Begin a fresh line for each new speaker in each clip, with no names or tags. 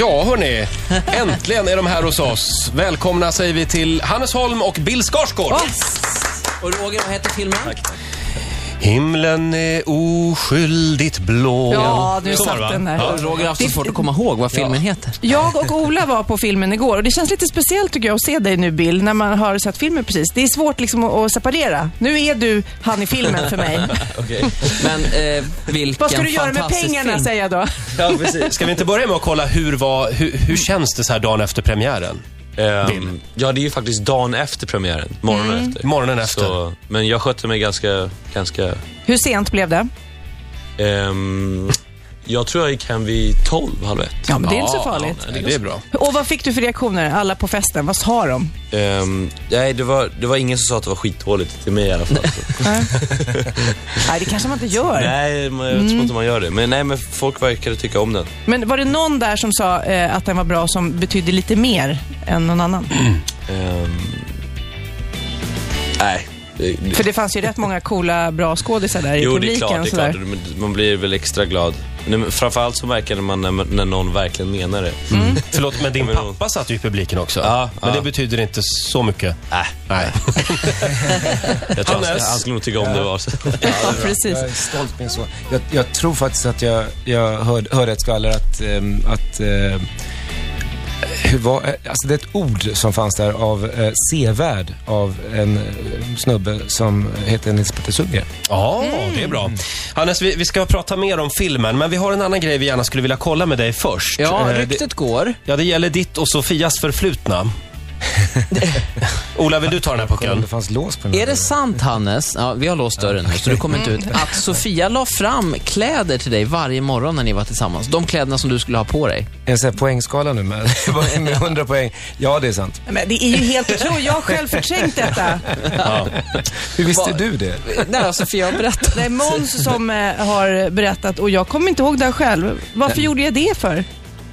hörni, äntligen är de här hos oss. Välkomna säger vi till Hannes Holm och Bill Skarsgård.
Och Roger, vad heter filmen?
Himlen är oskyldigt blå.
Ja, nu
Så var det, va?
satt den där.
Ja.
Roger har haft så svårt att komma ihåg vad filmen heter.
Jag och Ola var på filmen igår och det känns lite speciellt tycker jag att se dig nu Bill, när man har sett filmen precis. Det är svårt liksom att, att separera. Nu är du han i filmen för mig.
Men eh, vilken
Vad ska du göra med
fantastisk
pengarna
film.
säger jag då?
Ja, precis. Ska vi inte börja med att kolla hur, var, hur, hur känns det så här dagen efter premiären?
Ehm, ja, det är ju faktiskt dagen efter premiären. Morgonen efter.
Morgonen efter.
Så, men jag skötte mig ganska... ganska
Hur sent blev det?
ehm, jag tror jag gick hem vid 12, halv ett.
Ja, men det är inte så
Ja,
farligt.
nej,
Nej, det är bra.
Och vad fick du för reaktioner, alla på festen? Vad sa de?
Ehm, nej, det var, det var ingen som sa att det var skitdåligt. Till mig i alla fall.
Nej, det kanske man inte gör.
nej, men jag tror inte man gör det. Men nej, men folk verkade tycka om den.
Men var det någon där som sa eh, att den var bra som betydde lite mer än någon annan?
Ehm, nej. Det, det,
För det fanns ju rätt många coola, bra skådisar där i
jo, det är
publiken.
klart. Det är
sådär.
klart. Men Man blir väl extra glad. Nej, men Framförallt så märker man när, när någon verkligen menar det.
Förlåt, men din pappa satt ju i publiken också.
Ja, Äh.
men
ja.
det betyder inte så mycket.
Nej,
Nej.
jag tror han,
Hannes.
han skulle nog tycka om det var. så.
Ja, precis.
Jag är stolt min son. Jag, jag tror faktiskt att jag, jag hörde, hörde ett skvaller att, ehm, att ehm, hur var, eh, alltså det är ett ord som fanns där av eh, sevärd av en eh, snubbe som heter Nils Petter Sundgren.
Ja, det är bra. Hannes, vi, vi ska prata mer om filmen, men vi har en annan grej vi gärna skulle vilja kolla med dig först.
Ja,
Eh, det,
ryktet går.
ja, det gäller ditt och Sofias förflutna. Ola, vill du ta den här
Kolla om
pucken?
det fanns lås på den
Är det sant Hannes, ja, vi har låst dörren här så du kommer inte ut, att Sofia la fram kläder till dig varje morgon när ni var tillsammans? De kläderna som du skulle ha på dig.
En sån här poängskala nu med, med 100 poäng. Ja, det är sant.
Men det är ju helt otroligt. Jag har själv förträngt detta.
Hur visste
Vad-
du det?
Nej, alltså, har Sofia berättat.
Det är Måns som eh, har berättat och jag kommer inte ihåg det här själv. Varför gjorde jag det för?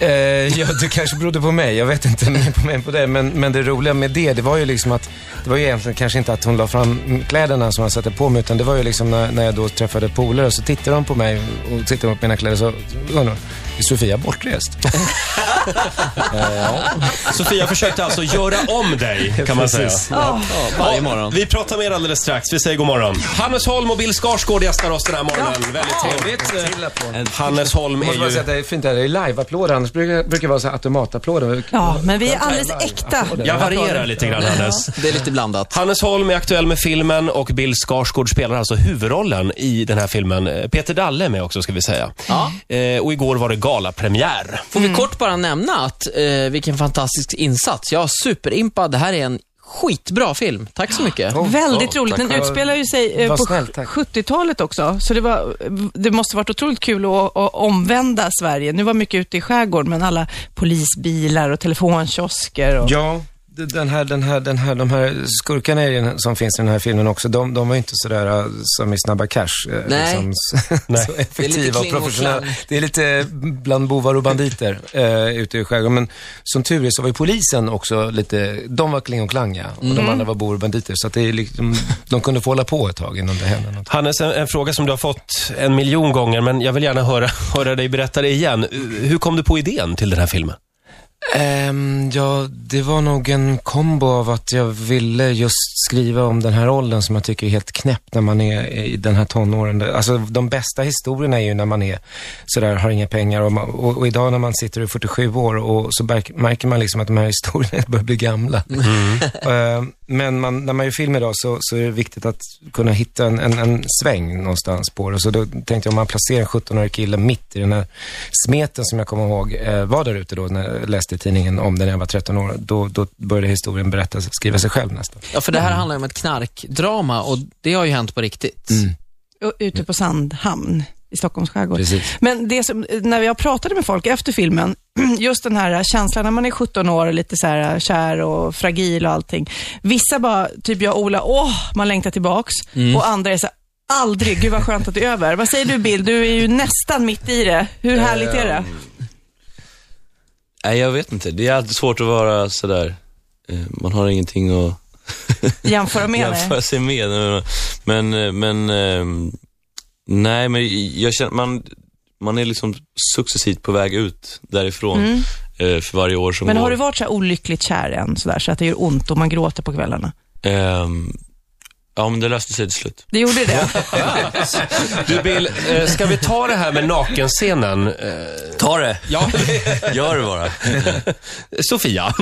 Eh, ja, det kanske berodde på mig. Jag vet inte mer på mig än på det. Men, men det roliga med det, det var ju liksom att, det var ju egentligen kanske inte att hon la fram kläderna som jag satte på mig, utan det var ju liksom när, när jag då träffade polare så tittade de på mig och tittade på mina kläder så undrade de, är Sofia bortrest?
Sofia försökte alltså göra om dig, kan man säga.
Precis.
Ja, varje
Ja,
morgon.
Vi pratar mer alldeles strax. Vi säger god morgon. Hannes Holm och Bill Skarsgård gästar oss den här morgonen. Väldigt trevligt. Hannes Holm
Jag
är
måste bara säga
ju...
att det är fint det här, det är liveapplåder, annars brukar brukar det vara så här automatapplåder.
Ja, men vi är alldeles äkta.
Jag varierar lite grann, Hannes.
Det är lite blandat.
Hannes Holm är aktuell med filmen och Bill Skarsgård spelar alltså huvudrollen i den här filmen. Eh, Peter Dalle är med också ska vi säga.
Ja.
Eh, och igår var det galapremiär.
Får vi kort bara nämna att, eh, vilken fantastisk insats. Jag är superimpad. Det här är en skitbra film. Tack så mycket.
Väldigt
Ja,
roligt. Den
tack.
utspelar ju sig eh,
Vad
på
snällt, tack.
70-talet också. Så det, var, det måste varit otroligt kul att, att omvända Sverige. Nu var mycket ute i skärgården, men alla polisbilar och telefonkiosker. Och...
Ja, d- den här, den här, den här, de här skurkarna i den- som finns i den här filmen också, de, de var ju inte sådär äh, som i Snabba Cash. eh,
Nej.
Liksom, s-
Nej.
så
Det är lite
effektiva och
Kling och
professionella.
Klang.
Det är lite bland bovar och banditer äh, ute i skärgården. Men som tur är så var ju polisen också lite, de var Kling och Klang ja, och
Mm.
de andra var bovar och banditer. Så att det är liksom, de kunde få hålla på ett tag innan det hände något.
Hannes, en, en fråga som du har fått en miljon gånger, men jag vill gärna höra, höra dig berätta det igen. Eh, Hur kom du på idén till den här filmen?
Ehm, ja, det var nog en kombo av att jag ville just skriva om den här åldern som jag tycker är helt knäpp när man är i den här tonåren. Det- Alltså de bästa historierna är ju när man är sådär, har inga pengar och, man, och, och idag när man sitter och är 47 år och så märk- märker man liksom att de här historierna börjar bli gamla. Ehm, men man, när man gör film idag så, så är det viktigt att kunna hitta en, en, en sväng någonstans på det. Så då tänkte jag om man placerar en 17-årig kille mitt i den här smeten som jag kommer ihåg eh, var där ute då när jag läste i tidningen om den när jag var 13 år. Då, då började historien berättas, skriva sig själv nästan.
Ja, för det här handlar ju om ett knarkdrama och det har ju hänt på riktigt.
Och Ute på Sandhamn i Stockholms skärgård.
Precis.
Men det som, när jag pratade med folk efter filmen, just den här känslan när man är 17 år och lite så här kär och fragil och allting. Vissa bara, typ jag och Ola, åh, man längtar tillbaks.
Mm.
Och andra är så här, aldrig, gud vad skönt att det är över. Vad säger du Bill? Du är ju nästan mitt i det. Hur härligt är det?
Ehm, Nej, jag vet inte. Det är alltid svårt att vara sådär. eh, Man har ingenting att
Eh,
Jämföra med det.
jämföra sig med. Men, eh, men ehm, nej, men jag känner, man, man är liksom successivt på väg ut därifrån. eh, för varje år som
Mm. Men
går.
har du varit så här olyckligt kär än, sådär, så att det gör ont och man gråter på kvällarna?
Ehm, ja, men det löste sig till slut.
Det gjorde det?
Du Bill, eh, ska vi ta det här med nakenscenen? Eh,
Ta det!
Ja,
Gör det bara.
Sofia.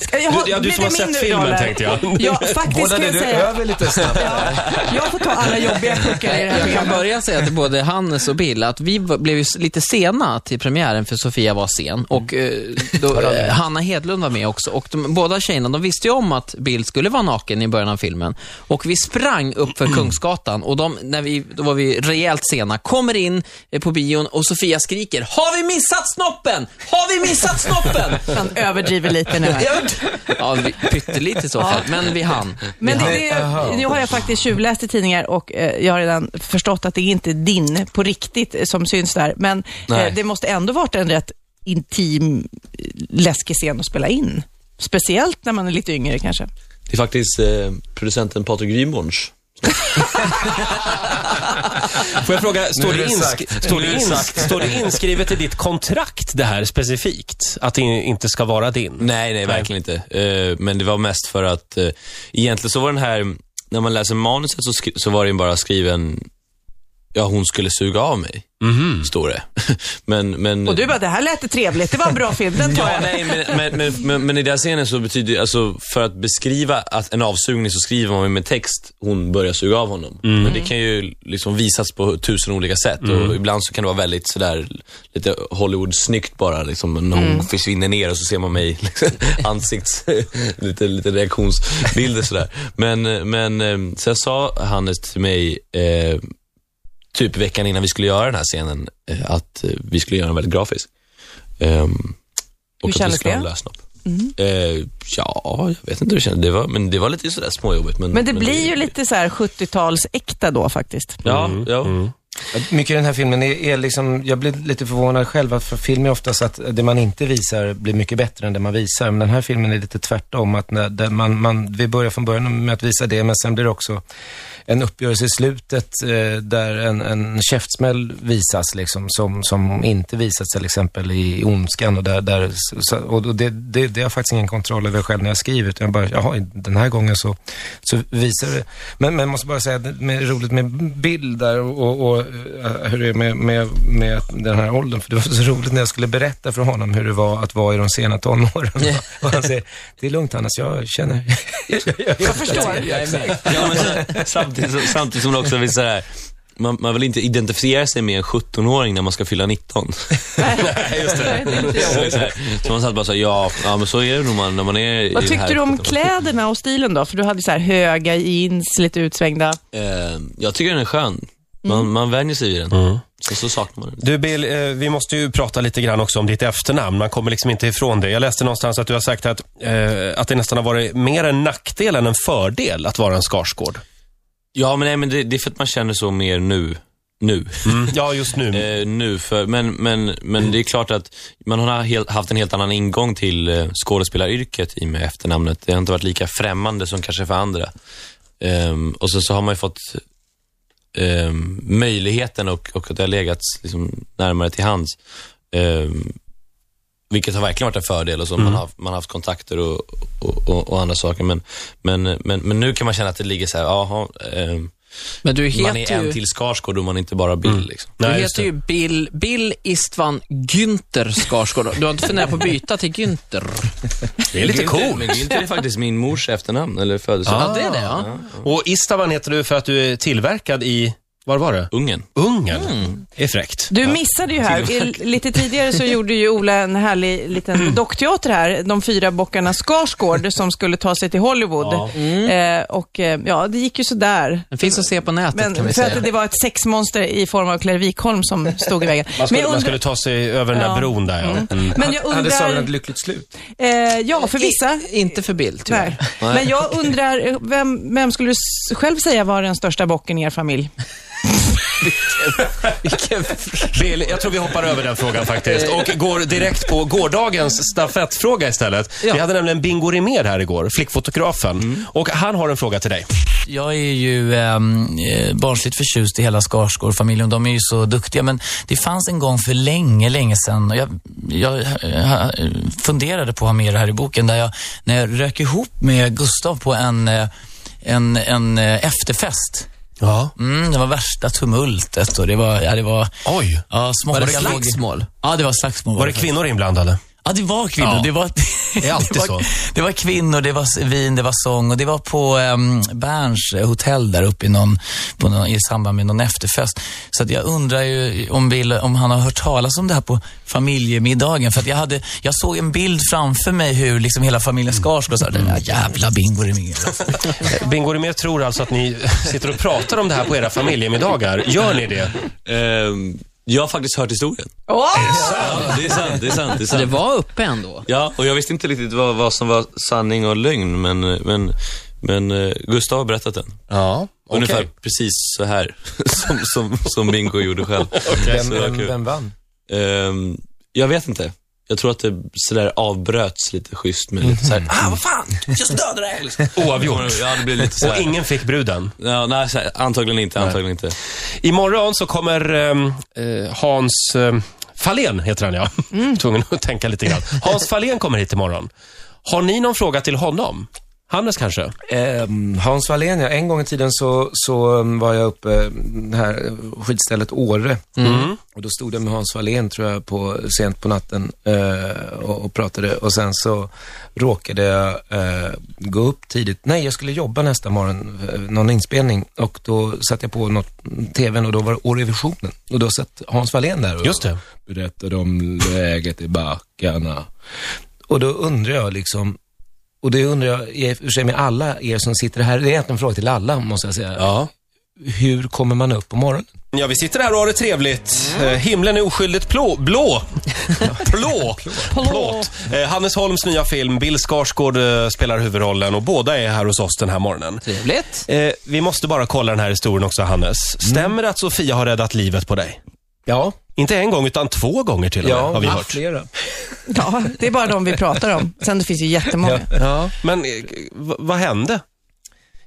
Ska jag ha-
Du- ja, du
blir
som
det
har
min
sett
nu,
filmen,
eller?
tänkte jag.
Ja, faktiskt kan jag säga.
lite snabbt.
Ja, jag får ta alla jobbiga puckar i det
Jag
här
kan
programmet.
börja säga till både Hannes och Bill att vi var- blev ju s- lite sena till premiären för Sofia var sen och eh, då, eh, Hanna Hedlund var med också och de, båda tjejerna de visste ju om att Bill skulle vara naken i början av filmen och vi sprang upp för Kungsgatan och de, när vi, då var vi rejält sena, kommer in eh, på bion och Sofia skriker Har vi missat snoppen? Har vi missat snoppen?
Han överdriver lite nu. här.
ja, vi, pyttelite i så fall, men vi hann.
Men det, det, nu har jag faktiskt tjuvläst i tidningar och eh, jag har redan förstått att det är inte din på riktigt eh, som syns där. Men eh,
Nej.
det måste ändå varit en rätt intim, eh, läskig scen att spela in. Speciellt när man är lite yngre kanske.
Det är faktiskt eh, producenten Patrik Grimborns.
Får jag fråga, står
är
det,
det
insk-
sagt.
står, det
Nu är det
ins-
sagt.
står det inskrivet i ditt kontrakt det här specifikt? Att det inte ska vara din?
Nej, nej, verkligen inte. Eh, men det var mest för att eh, egentligen så var den här, när man läser manuset så, skri- så var den bara skriven, ja hon skulle suga av mig, står det. men, men,
Och du bara, det här lät det trevligt, det var en bra film, den tar
Ja,
jag.
nej, men, men, men, men, men i den här scenen så betyder alltså för att beskriva att en avsugning så skriver man ju med text, hon börjar suga av honom. Men det kan ju liksom visas på tusen olika sätt och ibland så kan det vara väldigt sådär, lite Hollywood-snyggt bara liksom, när hon försvinner ner och så ser man mig liksom, ansikts, lite, lite reaktionsbilder sådär. Men, men eh, sen sa Hannes till mig, eh, typ veckan innan vi skulle göra den här scenen, eh, att eh, vi skulle göra den väldigt grafisk. Ehm, och att vi
kändes
skulle ha
det? Mm.
en lössnopp. Eh, ja, jag vet inte hur det kändes. Det var, men det var lite sådär småjobbigt. Men,
Men det blir ju lite så här 70-talsäkta då faktiskt.
Ja, ja.
Mycket i den här filmen är, är liksom, jag blir lite förvånad själv, att för film är oftast att det man inte visar blir mycket bättre än det man visar. Men den här filmen är lite tvärtom, att när, där man, man, vi börjar från början med att visa det, men sen blir det också en uppgörelse i slutet eh, där en, en käftsmäll visas liksom, som, som inte visas till exempel i Ondskan. Och, där, där, så, och och det, det, det har jag faktiskt ingen kontroll över själv när jag skriver, utan jag bara, jaha, den här gången så, så visar det. Men, men jag måste bara säga, det är roligt med bild där och, och, och eh, hur det är med, med, med den här åldern, för det var så roligt när jag skulle berätta för honom hur det var att vara i de sena tonåren. Och han säger, det är lugnt Hannes, jag känner,
Jag förstår.
Jag är med.
ja men, sen- samtidigt, som- samtidigt som det också blir sådär, man, man vill inte identifiera sig med en 17-åring när man ska fylla 19.
Nej, just
Så det är sådär. så man satt bara såhär, ja, ja men så är det nog man, när man är i
Vad
det här
tyckte du om
17-årsåldern.
kläderna och stilen då? För du hade så här höga jeans, lite utsvängda.
Eh, jag tycker den är skön. Man,
Mm.
man vänjer sig vid den. Sen så saknar man den.
Du Bill, eh, vi måste ju prata lite grann också om ditt efternamn. Man kommer liksom inte ifrån det. Jag läste någonstans att du har sagt att, eh, att det nästan har varit mer en nackdel än en fördel att vara en Skarsgård.
Ja, men, nej, men det, det är för att man känner så mer nu. Nu.
Ja, just nu.
Eh, nu för, men, men, men det är klart att man har helt, haft en helt annan ingång till eh, skådespelaryrket i och med efternamnet. Det har inte varit lika främmande som kanske för andra. Ehm, och sen så har man ju fått ehm, möjligheten och, och att det har legat liksom, närmare till hands. Ehm, vilket har verkligen varit en fördel och så man, har, man har haft kontakter och, och, och, och andra saker. Men, men, men, men nu kan man känna att det ligger så här, jaha, ehm,
Men du
man är
heter
en
ju...
till Skarsgård och man är inte bara Bill. Liksom.
Du
Nej, just
heter ju Bill, Bill Istvan Günther Skarsgård. Du har inte funderat på att byta till Günther?
Det är lite
Günther-
coolt.
Men Günther är faktiskt min mors efternamn, eller födelsedag.
Ja, det är det. Ja.
Och Istavan heter du för att du är tillverkad i, var var det?
Ungern.
Ungern. Det är fräckt.
Du missade ju här, I- lite tidigare så gjorde ju Ola en härlig liten dockteater här, De fyra bockarna Skarsgård som skulle ta sig till Hollywood. Eh, och eh, ja, det gick ju sådär.
Den finns att se på nätet
Men
kan vi
för att
säga.
det var ett sexmonster i form av Claire Wikholm som stod i vägen.
Man skulle,
men jag
man
undrar,
skulle ta sig över den där
Ja.
bron där, ja. Mm.
men jag
hade sagan ett
undrar
lyckligt slut?
eh, ja för vissa.
I, inte för Bill, tyvärr.
Nej. Men jag undrar, eh, vem, vem skulle du s- själv säga var den största bocken i er familj?
Bill, jag tror vi hoppar över den frågan faktiskt och går direkt på gårdagens
Mm.
stafettfråga istället. Vi hade nämligen Bingo Rimér här igår, flickfotografen. Och han har en fråga till dig.
Jag är ju ehm, eh, barnsligt förtjust i hela Skarsgård-familjen. De är ju så duktiga. Men det fanns en gång för länge, länge sedan. Och jag, jag eh, funderade på att ha med det här i boken. Där jag, när jag rök ihop med Gustav på en, eh, en, en eh, efterfest.
Ja.
Mm, det var värsta tumultet och det var, ja, det var
Oj.
ja, smått.
Var det
Jag låg i-
slagsmål?
Ja, det var slagsmål.
Var det kvinnor inblandade?
Ja, det var kvinnor.
Ja.
Det, var,
Det är alltid
det, var,
så.
det var kvinnor, det var s- vin, det var sång och det var på um, Berns hotell där uppe i, någon, på någon, i samband med någon efterfest. Så att jag undrar ju om, Bill, om han har hört talas om det här på familjemiddagen. För att jag, hade, jag såg en bild framför mig hur liksom hela familjen Skarsgård sa, den där jävla bingo det är
Bingo Rimér tror alltså att ni sitter och pratar om det här på era familjemiddagar. Gör ni det?
Ehm, jag har faktiskt hört historien. Ja, det är sant, det är sant, det är
Så det
sant.
var uppe ändå?
Ja, och jag visste inte riktigt vad, vad som var sanning och lögn, men, men, men eh, Gustav har berättat den.
Ja.
Ungefär precis så här som, som, som Bingo gjorde själv.
Vem,
Så det var
vem,
kul.
vem vann?
Ehm, jag vet inte. Jag tror att det sådär avbröts lite schysst med lite såhär, ah vad fan, just dödade dig! Liksom.
Oavgjort.
Ja, det blev lite
Och
såhär.
ingen fick bruden.
Ja, nej, så här, antagligen inte, antagligen inte.
Imorgon så kommer ehm, eh, Hans eh, Fahlén, heter han ja. Tvungen att tänka lite grann. Hans Fahlén kommer hit imorgon. Har ni någon fråga till honom? Hannes kanske?
Ehm, Hans Wallén, ja. En gång i tiden så, så um, var jag uppe mm, det här eh, skidstället Åre.
Mm.
Och då stod jag med Hans Wallén, tror jag, på, sent på natten eh, och, och pratade. Och sen så råkade jag eh, gå upp tidigt. Nej, jag skulle jobba nästa morgon, eh, någon inspelning. Och då satte jag på något, mm, tvn och då var det Årevisionen. Och då satt Hans Wallén där. Och,
Just det.
berättade om läget i backarna. Och då undrar jag liksom, och det undrar jag i och för sig med alla er som sitter här, det är egentligen en fråga till alla måste jag säga.
Ja.
Hur kommer man upp på morgonen?
Ja, vi sitter här och har det trevligt. Eh, Himlen är oskyldigt plå, blå. Plå. Plåt. Eh, Hannes Holms nya film, Bill Skarsgård eh, spelar huvudrollen och båda är här hos oss den här morgonen.
Trevligt.
Eh, vi måste bara kolla den här historien också, Hannes. Stämmer det att Sofia har räddat livet på dig?
Ja,
Inte en gång, utan två gånger till och med, har vi
va,
hört.
flera.
Ja, det är bara de vi pratar om. Sen det finns ju jättemånga.
Ja. Men eh, v- vad hände?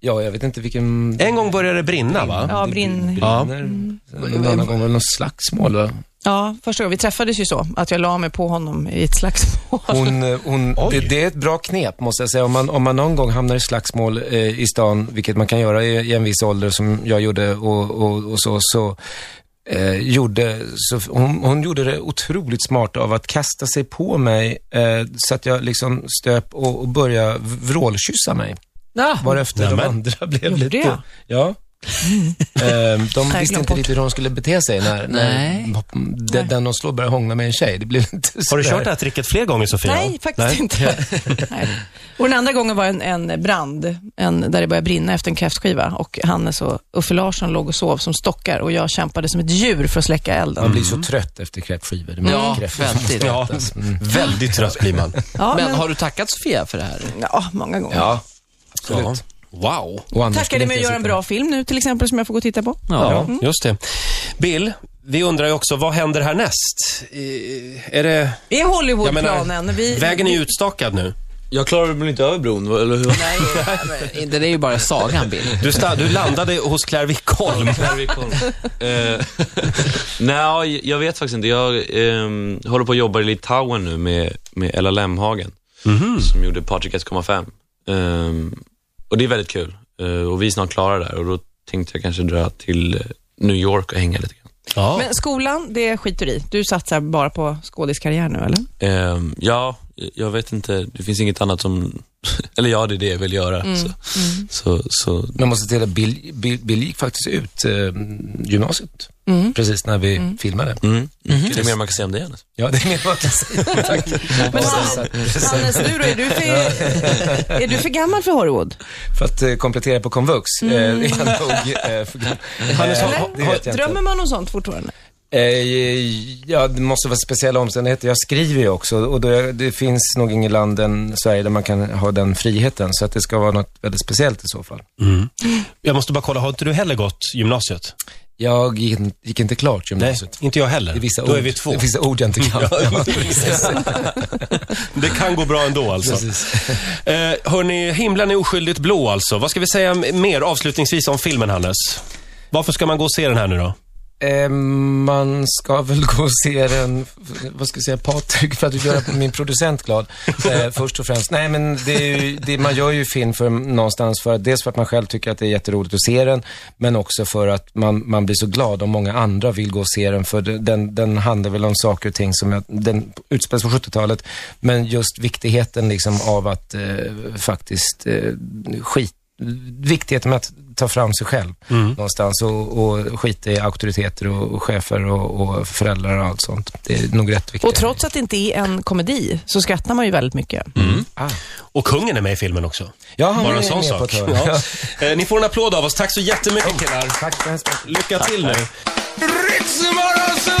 Ja, jag vet inte vilken...
En gång började det brinna, va?
Ja, brinn.
Ja.
brinner. Någon annan gång var det någon slagsmål va?
Ja, första gången. Vi träffades ju så, att jag la mig på honom i ett slagsmål.
Hon, eh, hon,
Oj.
det, det är ett bra knep måste jag säga. Om man, om man någon gång hamnar i slagsmål eh, i stan, vilket man kan göra i, i en viss ålder som jag gjorde och, och, och så, så eh, gjorde, så hon, hon gjorde det otroligt smart av att kasta sig på mig eh, så att jag liksom stöp och, och började v- vrålkyssa mig.
Ja.
Varefter de
Nämen.
andra blev
Gjorde
lite...
jag? Mm.
Ja. Eh, de
jag
visste
glömt
inte
bort.
riktigt hur de skulle bete sig när, när
Nej.
den, den de slår börjar hångla med en tjej. Det blev inte
Har du
sådär.
kört det här tricket fler gånger, Sofia?
Nej, faktiskt inte. Nej. Och den andra gången var en, en brand, en, där det började brinna efter en kräftskiva och Hannes och Uffe Larsson låg och sov som stockar och jag kämpade som ett djur för att släcka elden.
Man blir så trött efter kräftskivor. Det är mycket
Ja,
kräftor.
väldigt.
Ja, väldigt trött blir man.
Ja, men,
Men har du tackat Sofia för det här?
ja, många gånger.
Ja, absolut.
Ja. Wow.
Och annars skulle
Tackade
inte
mig att
jag
göra en
sitta
bra film nu till exempel som jag får gå och titta på.
Ja, Mm. just det. Bill, vi undrar ju också, vad händer härnäst? Eh, Är det...
Det är Hollywoodplanen. Vi,
vägen är ju utstakad nu.
Jag klarade väl inte över bron, va, eller hur?
Nej, men det är ju bara sagan, Bill.
Du, sta- du landade hos Claire Wickholm.
Eh, Nej, jag vet faktiskt inte. Jag ehm, håller på att jobba i Litauen nu med, med Ella Lemhagen, som gjorde Patrik 1,5. Ehm, och det är väldigt kul. Eh, och vi är snart klara där och då tänkte jag kanske dra till eh, New York och hänga lite grann.
Ja.
Men skolan, det skiter du i. Du satsar bara på skådiskarriär nu, eller?
Ehm, ja, jag vet inte. Det finns inget annat som... eller ja, det är det jag vill göra. Så, så, så
Man måste till att Bill, Bill, Bill gick faktiskt ut eh, gymnasiet precis när vi filmade.
mm. det är mer man kan säga om det, Anders.
Ja, det är mer vad jag kan säga. Tack.
Men Hannes, Hannes, du då? Är du, för, är du för gammal för Hollywood?
För att eh, komplettera på komvux. eh, är jag nog, eh, för gammal.
Hannes, har-
Eh,
har-
det vet jag inte.
Drömmer man om sånt fortfarande?
Eh, ja, det måste vara speciella omständigheter. Jag skriver ju också och då, det finns nog inget land än Sverige där man kan ha den friheten. Så att det ska vara något väldigt speciellt i så fall.
Jag måste bara kolla, har inte du heller gått gymnasiet?
Jag gick, in- gick inte klart
Nej,
gymnasiet.
inte jag heller.
Det är vissa
Då
ord,
är vi två.
Det är vissa ord jag inte kan.
Ja, precis. det kan gå bra ändå alltså.
Precis.
Eh, hörni, himlen är oskyldigt blå alltså. Vad ska vi säga m- mer avslutningsvis om filmen, Hannes? Varför ska man gå och se den här nu då?
Eh, man ska väl gå och se den, vad ska jag säga, Patrik, för att göra min producent glad. Eh, först och främst. Nej, men det är ju, det, man gör ju film för någonstans för att, dels för att man själv tycker att det är jätteroligt att se den, men också för att man, man blir så glad om många andra vill gå och se den, för det- den, den handlar väl om saker och ting som, jag, den utspelas på 70-talet, men just viktigheten liksom av att eh, faktiskt eh, skit viktigheten med att ta fram sig själv
Mm.
någonstans och, och skita i auktoriteter och, och chefer och, och föräldrar och allt sånt. Det är nog rätt viktigt.
Och trots att det inte är en komedi så skrattar man ju väldigt mycket.
Ah.
Och kungen är med i filmen också.
Ja, han
Bara
är
en sån
med på
sak.
ett hörn.
Ja. Eh, ni får en applåd av oss. Tack så jättemycket killar.
Tack så hemskt mycket.
Lycka till nu.
Ritzmorgonzoo!